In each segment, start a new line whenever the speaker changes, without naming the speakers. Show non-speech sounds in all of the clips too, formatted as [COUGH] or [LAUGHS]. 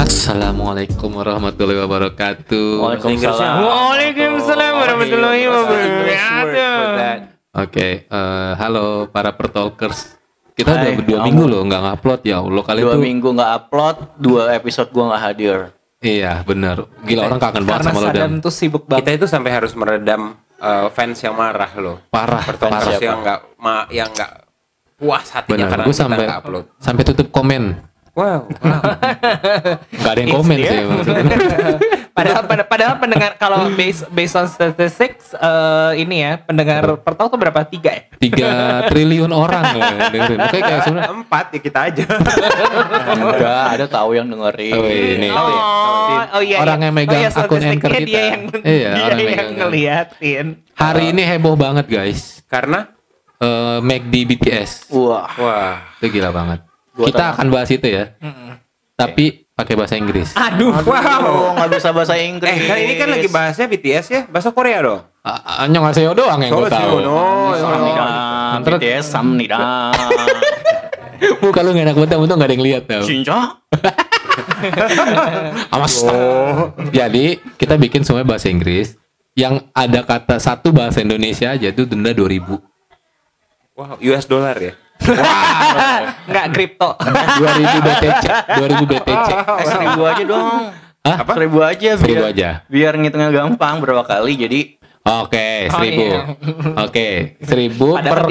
Assalamualaikum warahmatullahi wabarakatuh.
Waalaikumsalam.
Waalaikumsalam warahmatullahi wabarakatuh.
Oke, eh, halo para pertalkers. Kita udah
Hai,
dua
kamu.
minggu loh nggak ngupload ya. Lo kalian
Dua
tuh
minggu nggak upload, dua episode gua nggak hadir.
iya benar. Gila orang kangen banget
Karena
sama lo dan
Sadam tuh sibuk banget.
kita itu sampai harus meredam uh, fans yang marah loh
parah
fans
parah.
yang nggak ma- yang nggak puas
Benar.
hatinya Iya, karena
Gue
kita
sampai
nggak upload
sampai tutup komen.
wow,
Gak ada yang komen sih. emang.
Iya. [LAUGHS] Padahal pada- padahal pendengar kalau based based on statistics eh, ini ya pendengar pertama tuh berapa tiga ya?
Tiga triliun orang loh yang dengerin. Makanya kayak sebenarnya
empat ya kita aja
Enggak, ada tahu yang
Oh,
dengerin.
ini.
oh iya.
Orang
iya.
yang megang
iya,
akun
statistiknya
Anchor
Dia
kita.
yang,
[LAUGHS] Iya, orang
dia
yang
yang
megang.
ngeliatin.
Hari ini heboh banget guys.
[LAUGHS] karena
Eh McD BTS.
Wah,
wah
Itu gila banget.
Gua
Kita
tahu.
akan bahas itu ya. Tapi pakai bahasa Inggris.
Aduh, wow.
wow, nggak bisa bahasa Inggris.
eh kan ini kan lagi bahasnya BTS ya bahasa Korea dong
A- Annyeonghaseyo doang yang gue
Soalnya
tahu.
no, no.
Samnidam,
Terus-
BTS Samnidam.
[LAUGHS] Muka lu gak enak banget, untung gak ada yang lihat tau.
Cinca?
Oh.
Awas. Jadi kita bikin semuanya bahasa Inggris. Yang ada kata satu bahasa Indonesia aja itu denda
[LAUGHS]
2000.
wow US dollar ya
Enggak kripto.
2000 BTC, 2000 BTC.
[LAUGHS]
Oh.
Eh, seribu aja dong.
Hah?
Apa? Seribu aja. Biar,
Seribu aja.
Biar ngitungnya gampang berapa kali. Jadi
Oke, 1000. Oke, 1000 per
Oh,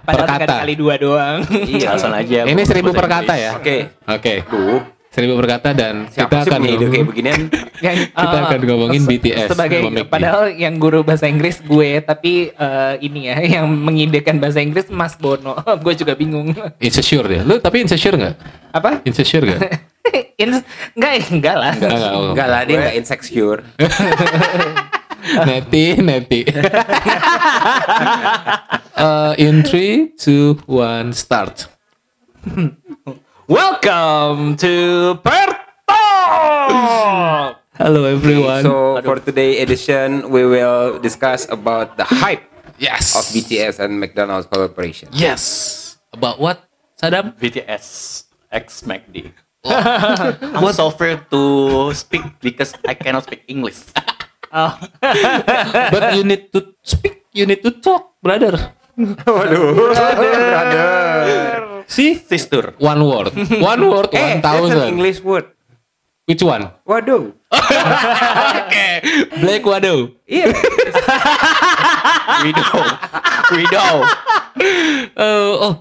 kata Oh, ya,
Padahal tinggal-
per
Padahal tinggal
kata.
kali dua doang.
iya. alasan aja.
Ini
gua
1000 per
bahasa
kata
Inggris.
ya.
oke
Oke.
Duh,
1000 per kata dan
siapa
kita
sih
akan
punya ide kayak
ngomong-
beginian
Yang,
Kita
[LAUGHS] eh,
akan ngomongin BTS
sebagai
sama McD.
padahal yang guru bahasa Inggris gue tapi eh, ini ya [LAUGHS] yang mengidekan bahasa Inggris Mas Bono [LAUGHS] gue juga bingung
insecure deh. Lu tapi insecure nggak?
apa
Insecure
[LAUGHS]
nggak?
[LAUGHS] Ins- enggak enggak lah
Nggak, nggak, nggak.
Enggak lah, dia nggak insecure.
Neti, neti. [LAUGHS] Eh, in 3, 2, 1, start.
welcome to Pertalk
Hello everyone.
So for today edition, we will discuss about the hype
yes.
of BTS and McDonald's collaboration.
Yes. About what? Sadam?
BTS X MACD. Oh. I'm so afraid to speak because I cannot speak English. [LAUGHS]
Oh.
[LAUGHS] But you need to speak, you need to talk, brother. See?
Sister.
One word. One [LAUGHS] word,
Eh,
one
that's an
thousand.
English word.
Which [LAUGHS] one?
Waduh.
Black Widow.
Iya.
Widow. Widow.
Uh, oh,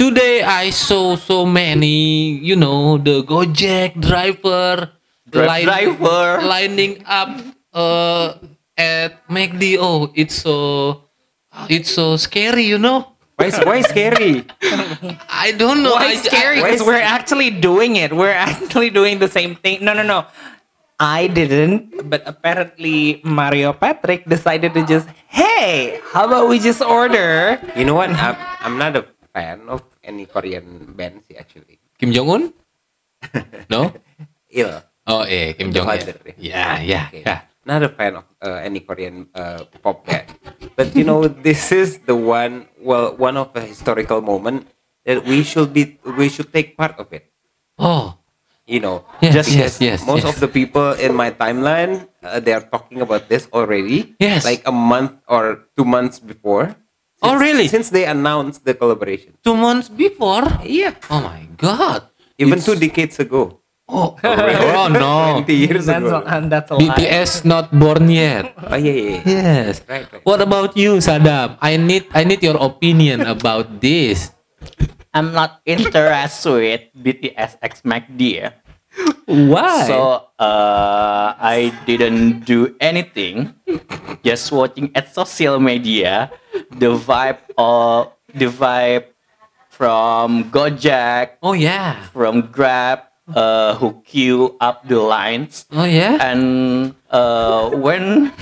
today I saw so many, you know, the Gojek driver,
Dri- driver.
lining up uh, at McD. Oh, it's so, it's so scary, you know.
Why, is- why scary?
I don't know.
Why
I-
scary?
why
Because
is-
we're actually doing it. We're [LAUGHS] actually doing the same thing. No, no, no. I didn't, but apparently Mario Patrick decided to just, hey, how about we just order?
You know what? I'm, I'm not a fan of any Korean band sih actually.
I- Kim Jong
[LAUGHS]
Un? No.
Ill.
Oh, eh, Kim Ya, Jong Un.
father,
Yeah, yeah,
Okay.
yeah.
Not a fan of uh, any Korean uh, pop band, but you know this is the one. Well, one of a historical moment that we should be. We should take part of it.
Oh,
You know,
Yes,
just
yes,
because
yes,
most
yes.
of the people in my timeline uh, they are talking about this already.
Yes.
like a month or two months before.
Oh, really?
Since they announced the collaboration.
two months before.
Yeah,
Oh my God.
even
It's-
two decades ago. [LAUGHS]
Oh, oh no.
Twenty years
That's,
ago.
a, that's a lie.
BTS not born yet.
Oh yeah, yeah. yeah.
Yes.
Right, right.
What about you, Sadam? I need I need your opinion about this.
I'm not interested with BTS X MACD. ya.
Why?
So uh, I didn't do anything. Just watching at social media the vibe of the vibe from Gojek,
oh yeah.
from Grab, uh, who queue up the lines.
Oh yeah.
And uh, when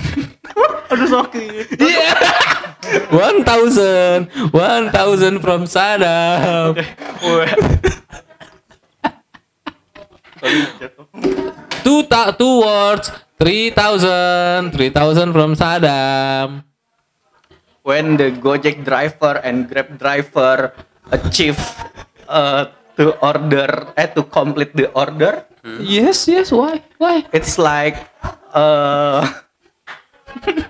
aduh sakit.
[LAUGHS] One thousand. One thousand from Sadam. Two ta two words. Three thousand. Three thousand from Sadam.
when the Gojek driver and Grab driver achieve uh, to order eh to complete the order,
Yes, yes. Why? Why?
It's like uh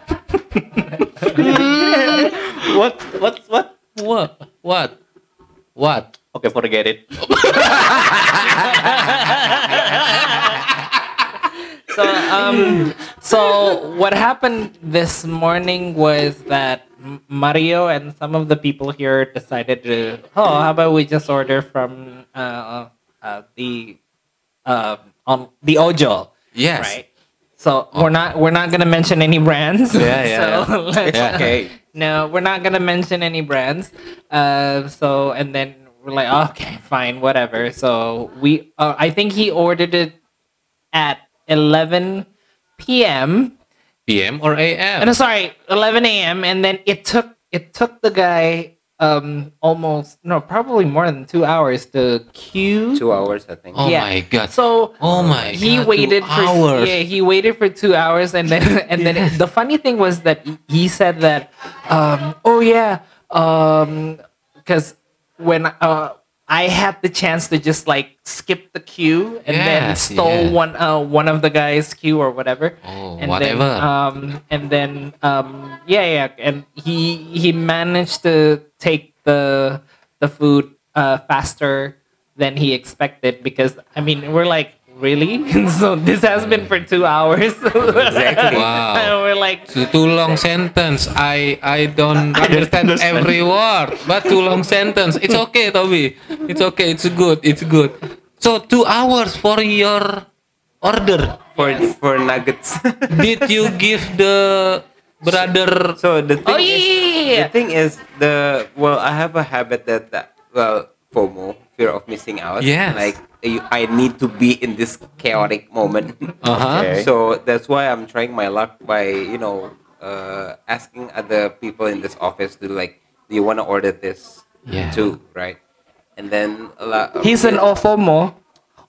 [LAUGHS] what what what?
What? What? What?
Okay, forget it.
So um, so what happened this morning was that M- Mario and some of the people here decided to oh how about we just order from uh, uh, the uh, on the Ojo
Yes.
right. So we're not we're not gonna mention any brands.
Yeah, yeah,
[LAUGHS] so let's-
Yeah.
Okay.
No, we're not gonna mention any brands. Uh, so and then we're like, "Oh, okay, fine, whatever. So we, uh, I think he ordered it at 11 p.m.
PM or AM?
And Uh, sorry, 11 a.m. And then it took it took the guy um almost no probably more than two hours to queue.
Two hours, I think.
oh
yeah.
my god.
So
oh my god.
he
two
waited for
hours.
yeah he waited for two hours and then [LAUGHS] and then the funny thing was that he said that um oh yeah um because when uh I had the chance to just like skip the queue and then
Yes, yeah.
stole one uh one of the guys' queue or whatever.
Oh,
and
whatever.
Then, um and then um yeah yeah and he he managed to take the the food uh faster than he expected because I mean we're like really [LAUGHS] so this has been for two hours exactly [LAUGHS]
Wow.
and we're like
Too, too long sentence. I [LAUGHS] I don't understand, every word, but too long sentence. It's okay, Toby. It's okay. It's good. It's good. So two hours for your order.
For for nuggets. [LAUGHS]
Did you give the brother?
so the thing
oh
is,
yeah
the thing is the well, I have a habit that, that well FOMO, fear of missing out.
Yes.
Like you, I need to be in this chaotic
[LAUGHS]
moment.
Uh huh.
Okay.
So that's why I'm trying my luck by you know uh, asking other people in this office to like, do you want to order this
Yeah.
too, right? And then a lot. of-
he's an ofomo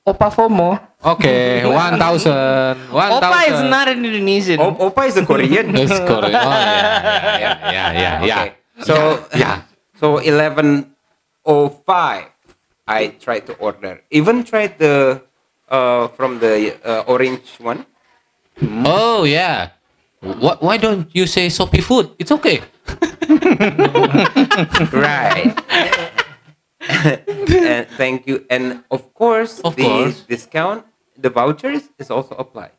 opa fomo
Okay, one thousand. One
opa is
thousand.
not an Indonesian
O- Opa is a
[LAUGHS]
Korean.
It's correct. Oh yeah, yeah, yeah, yeah, yeah.
Okay. So
yeah.
So eleven oh five, I tried to order. Even tried the uh, from the uh, orange one.
Oh yeah. What? Why don't you say soppy food? It's okay.
right. and thank you. And of course,
Of
the
course.
discount, the vouchers is also applied.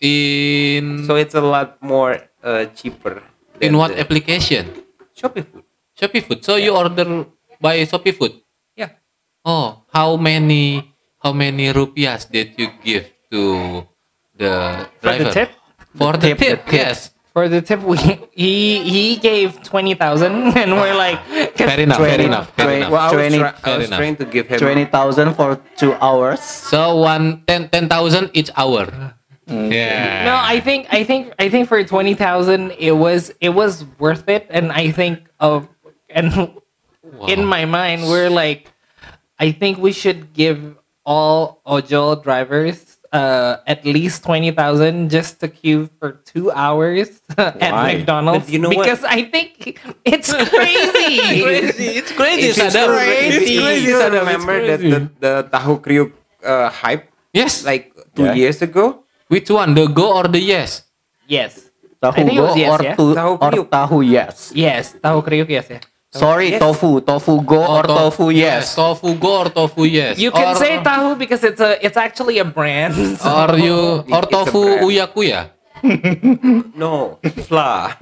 In
So it's a lot more uh, cheaper.
in
than
what
the
application?
Shopee food.
Shopee Food. So you order by Shopee Food.
Yeah.
Oh, how many how many rupiahs did you give to the
For
driver
the tip?
For the,
Tip, the
tip,
tip.
yes.
for the tip we he he gave 20,000 [LAUGHS] and we're like 'cause-
Fair enough, fair
Twenty.
enough, fair
Twenty.
enough.
Well, I was,
Twenty-
try- I
Fair
was
enough.
trying to give him.
20,000 for 2 hours.
So one ten ten thousand each hour.
Mm.
Yeah.
No, I think I think I think for twenty thousand, it was it was worth it, and I think of and in my mind, we're like, I think we should give all Ojo drivers uh, at least twenty thousand just to queue for two hours [LAUGHS] at
Why?
But
McDonald's.
you know what?
because I think it's crazy.
It's crazy,
It's
Sadam. It's
crazy.
crazy,
You
Sadam.
remember
It's
that
crazy.
the, the Tahu Kriuk uh, hype?
Yes. Like
Like two
Yeah.
years ago?
which one, the go or the yes?
Yes, I
Tahu
think it
go
was yes,
or,
yeah?
tu-
Tahu
or
kriuk.
tahu yes.
yes, tahu kriuk yes yeah.
Sorry,
yes.
tofu. Tofu go or
to-
Oh, tofu yes.
Tofu go or tofu yes.
You
or,
can say tahu because it's a it's actually a brand. so-
or you or
It's a
tofu
brand.
uyakuya.
No, fla.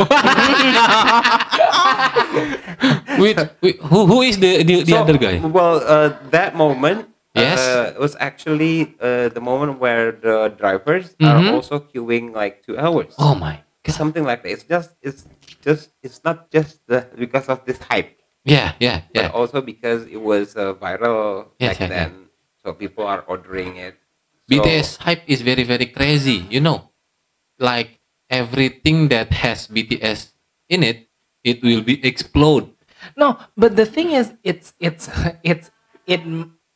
Which, which who, who is the [LAUGHS] the, the
So,
other guy?
Well, uh, that moment
Yes.
uh, was actually uh, the moment where the drivers are also queuing like two hours.
Mm-hmm. Oh my.
Something like that. It's just, it's just, it's not just the, because of this hype,
Yeah, yeah, yeah.
but also because it was uh, viral
Yes,
back
yeah, yeah.
then. So people are ordering it. So-
BTS hype is very very crazy, you know. Like everything that has BTS in it, it will be explode.
No, but the thing is, it's it's it's it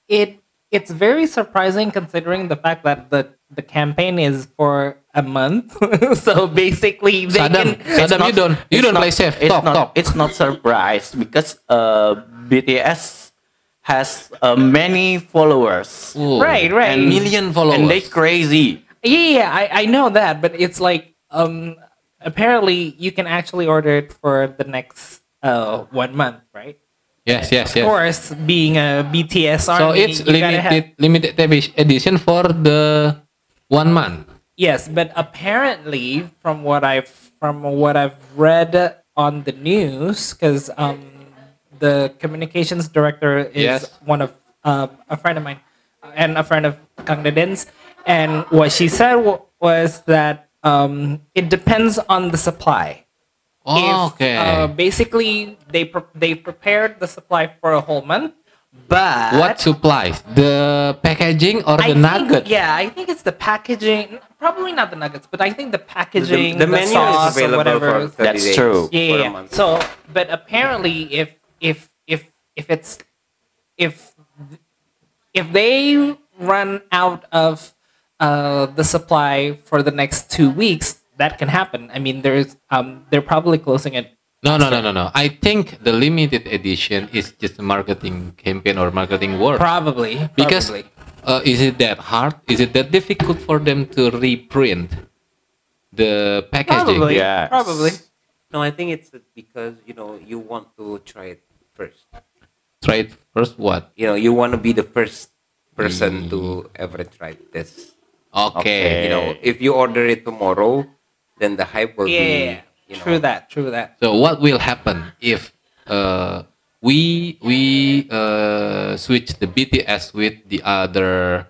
it it's very surprising considering the fact that the the campaign is for a month. [LAUGHS] so basically, they
Sadam,
can.
Sadam, you don't you
It's
don't
not-
play safe.
It's
Talk,
not,
talk.
It's not surprise because uh, BTS has uh, many followers.
Ooh.
Right, right.
And million followers.
And they crazy.
Yeah, yeah, yeah, I, I know that, but it's like um apparently you can actually order it for the next uh one month, right?
yes, yes,
Of
yes.
course, being a BTS
So
army,
it's
you gotta
limited
have-
limited edi- edition for the one month.
yes, but apparently, from what I've from what I've read on the news, because um the communications director is
Yes.
one of uh, a friend of mine uh, and a friend of Kang Dedin's, and what she said wa- was that um it depends on the supply.
Oh,
if,
okay.
Uh, basically, they pre- they prepared the supply for a whole month, but
what supplies? The packaging or the
I think-
nugget?
Yeah, I think it's the packaging. Probably not the nuggets, but I think the packaging,
the, the menu
sauce
is
or
available
whatever.
for 30
That's
days,
true.
for
yeah, yeah,
a
yeah.
month.
So, but apparently, if if if if it's if if they run out of uh, the supply for the next two weeks, that can happen. I mean, there's um, they're probably closing it.
No, no, no, no, no. I think the limited edition is just a marketing campaign or marketing work.
Probably
because
probably.
uh, is it that hard? Is it that difficult for them to reprint the packaging?
Probably.
Yes.
Probably.
No, I think it's because you know you want to try it first.
Try it first. What?
You know you want to be the first person to ever try this.
Okay.
You know if you order it tomorrow, then the hype will
Yeah.
be.
yeah,
You know,
True that. True that. [LAUGHS]
So what will happen if uh, we we uh, switch the BTS with the other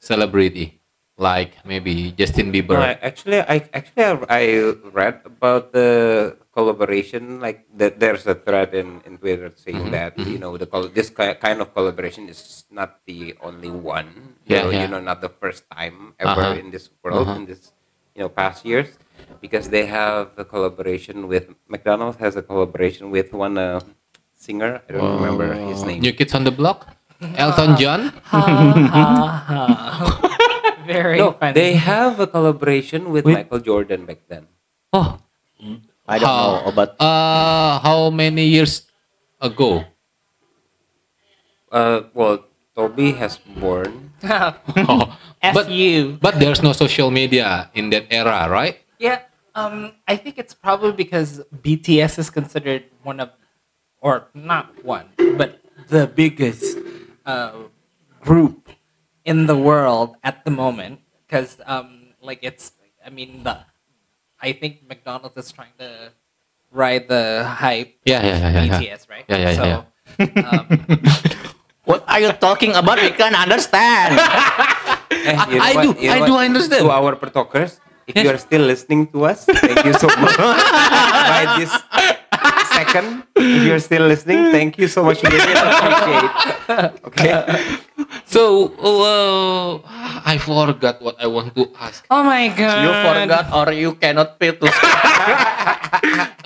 celebrity, like maybe Justin
No,
Bieber?
I, actually, I actually I, I read about the collaboration. Like that, there's a thread in, in Twitter
Mm-hmm,
saying that you know the col- this ki- kind of collaboration is not the only one.
Yeah,
you, know,
yeah.
you know, not the first time ever
Uh-huh.
in this world in this you know past years, because they have a collaboration with McDonald's has a collaboration with one uh, singer. I don't remember his name.
New Kids on the
[LAUGHS]
Block, Elton John.
Very
no,
funny.
they have a collaboration with Michael Jordan back then.
Oh,
I don't
how,
know, but
uh, how many years
[LAUGHS]
ago?
Uh, well, Toby has born.
[LAUGHS]
Oh,
F
but
you.
but there's no social media in that era, right?
Yeah. Um, I think it's probably because BTS is considered one of, or not one, but the biggest uh, group in the world at the moment. Because, um, like, it's, I mean, the, I think McDonald's is trying to ride the hype.
Yeah, yeah, yeah, yeah, yeah.
BTS, right?
Yeah, yeah, yeah,
so,
yeah.
what are you talking about? We can't understand.
[LAUGHS]
Eh, you know
I
what?
do,
You know
I
what?
do understand.
To our talkers, if you are still listening to us, thank you so much.
[LAUGHS]
By this second, if you're still listening, thank you so much. We really appreciate. Okay.
So, uh, I forgot what I want to ask.
Oh my god!
you forgot or you cannot pay to speak.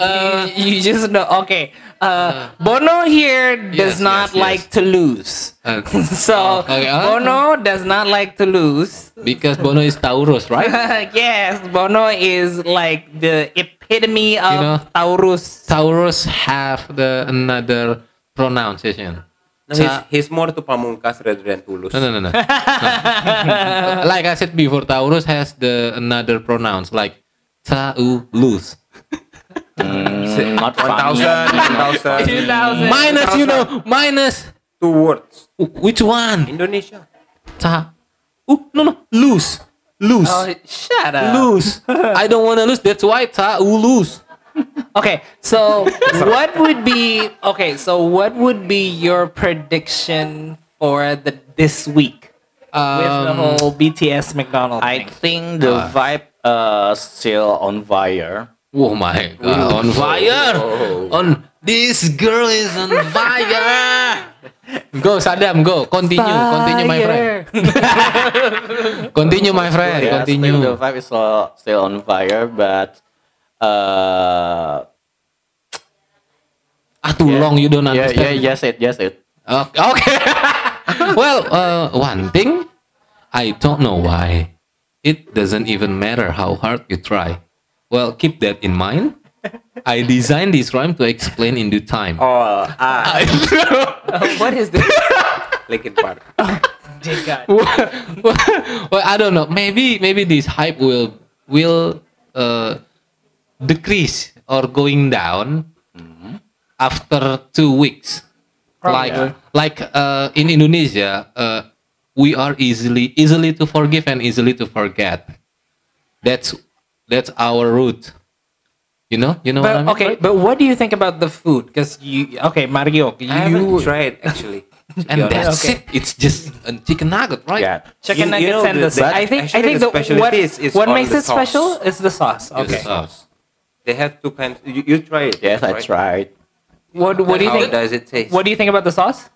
Uh,
[LAUGHS] you just know. Okay, uh, Bono here
yes,
does not
yes.
like to lose.
Uh,
[LAUGHS] So
Okay, uh,
Bono does not like to lose. [LAUGHS]
because Bono is Taurus, right?
yes, Bono is like the epitome of
know?
Taurus.
Taurus have the another pronunciation.
No, he's, Nah, he's more to Pamungkas rather than Tulus.
No, no, no, no. No. like I said before, Taurus has the another pronouns like Taurus.
Mm, not
One
funny.
thousand, one thousand,
2000.
Minus, you know, minus.
two words.
Which one?
Indonesia.
Ta. Oh, no, no, lose, lose.
Oh, shut up.
lose. I don't want to lose. That's why Ta u lose.
Okay, so what would be okay? So what would be your prediction for the this week with the
Um,
whole BTS McDonald
I
thing?
think
Ah.
the vibe uh still on fire.
oh my god! On fire! On this girl is on fire! go Saddam, go. Continue, continue, my friend.
[LAUGHS]
Continue, my friend.
Yeah,
continue.
Still the vibe is uh, still on fire, but uh
Ah, too long. You don't
yeah, yeah,
understand.
yes it, yes it.
Okay. [LAUGHS] okay. well, uh, one thing, I don't know why. It doesn't even matter how hard you try. Well, keep that in mind. I [LAUGHS] designed this rhyme to explain in due time.
Oh, ah,
Uh,
[LAUGHS]
what is this?
Linkin Park.
Dear God.
[LAUGHS] well, I don't know. Maybe maybe this hype will will uh, decrease or going down after two weeks.
Probably.
Like like uh, in Indonesia, uh, we are easily easily to forgive and easily to forget. That's that's our root. You know, you know what I
But
mean.
okay, but what do you think about the food? Because you okay, Mario,
I haven't
you
tried actually. to be
and
honest.
that's
Okay.
it. It's just a chicken nugget, right?
Yeah.
chicken
You- you
nuggets
know,
and
the-
the,
but
sauce. I think I
actually
think
the
the,
specialty
what,
is- is
what
on
makes
the
it special
sauce.
is the sauce. Okay.
It's sauce.
They have two kinds. You, you try it.
Yes, I
right?
tried.
What what do you
How
think?
does it taste?
What do you think about the sauce?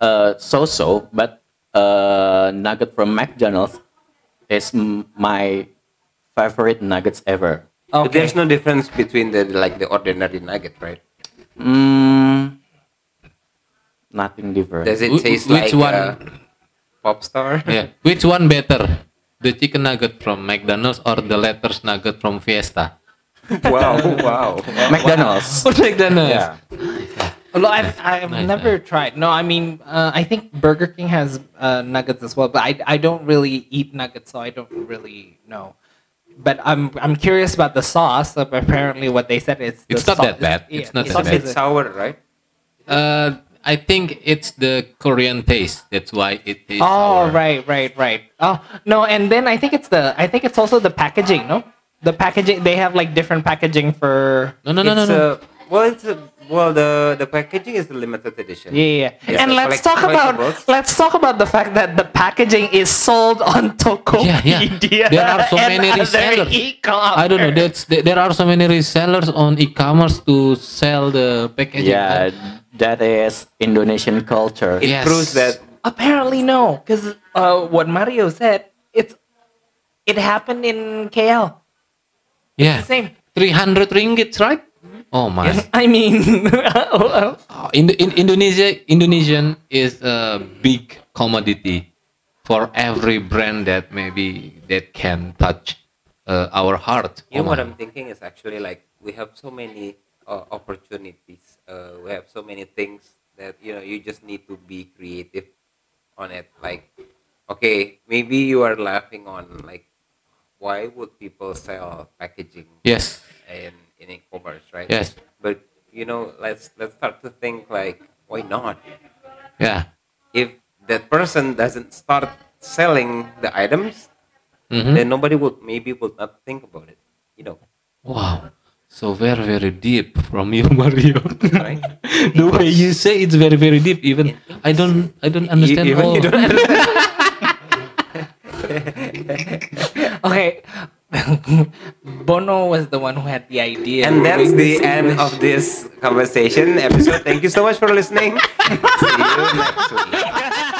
Uh, so so, but uh, nugget from McDonald's is m- my favorite nuggets ever.
But there's no difference between the like the ordinary nugget, right?
Mm, nothing different.
Does it
Wh-
taste
which
like
one?
uh, pop star?
yeah. Which one better? The chicken nugget from McDonald's or the letters nugget from Fiesta?
[LAUGHS] wow, wow. [LAUGHS]
McDonald's.
Oh, McDonald's.
Yeah.
No, I've, I've
Nice,
never tried. No, I mean, uh, I think Burger King has uh, nuggets as well, but I, I don't really eat nuggets, so I don't really know. But I'm I'm curious about the sauce. uh, Apparently, what they said is the
It's not
sau-
that bad. It's not that
Because
bad.
it's sour, right?
Uh, I think it's the Korean taste. That's why it tastes.
Oh
sour.
right, right, right. Oh no, and then I think it's the I think it's also the packaging. No, the packaging they have like different packaging for.
No, no, no, no,
it's uh,
no.
A, well, it's a, well the the packaging is the limited edition.
Yeah, yeah.
It's
and
a
let's
collect-
talk about
collectibles.
let's talk about the fact that the packaging is sold on Tokopedia.
There are so
and
many
other
resellers.
e-commerce.
I don't know. That's there there are so many resellers on e-commerce to sell the packaging.
Yeah, that is Indonesian culture.
It
Yes.
proves that
Apparently no, because uh, what Mario said, it's it happened in KL.
yeah.
Same.
Three hundred ringgits, right? Oh my.
[LAUGHS] I mean,
Oh, in, in Indonesia, Indonesian is a big commodity for every brand that maybe that can touch uh, our heart.
you know
Oh
what
my.
I'm thinking is actually like we have so many uh, opportunities. Uh, we have so many things that you know you just need to be creative on it. Like, okay, maybe you are laughing on like why would people sell packaging
Yes.
in in e-commerce, right?
Yes.
But you know, let's let's start to think like why not?
Yeah.
If that person doesn't start selling the items,
Mhm.
then nobody would maybe would not think about it. You know,
Wow. So very very deep from you, [LAUGHS] Mario.
right?
the way you say it's very very deep. Even I don't I don't understand
you, even
all. [LAUGHS]
you don't understand.
okay. [LAUGHS] Bono was the one who had the idea.
And that's
Doing
the
this
end
English.
of
[LAUGHS]
this conversation episode. Thank you so much for listening. See you next week.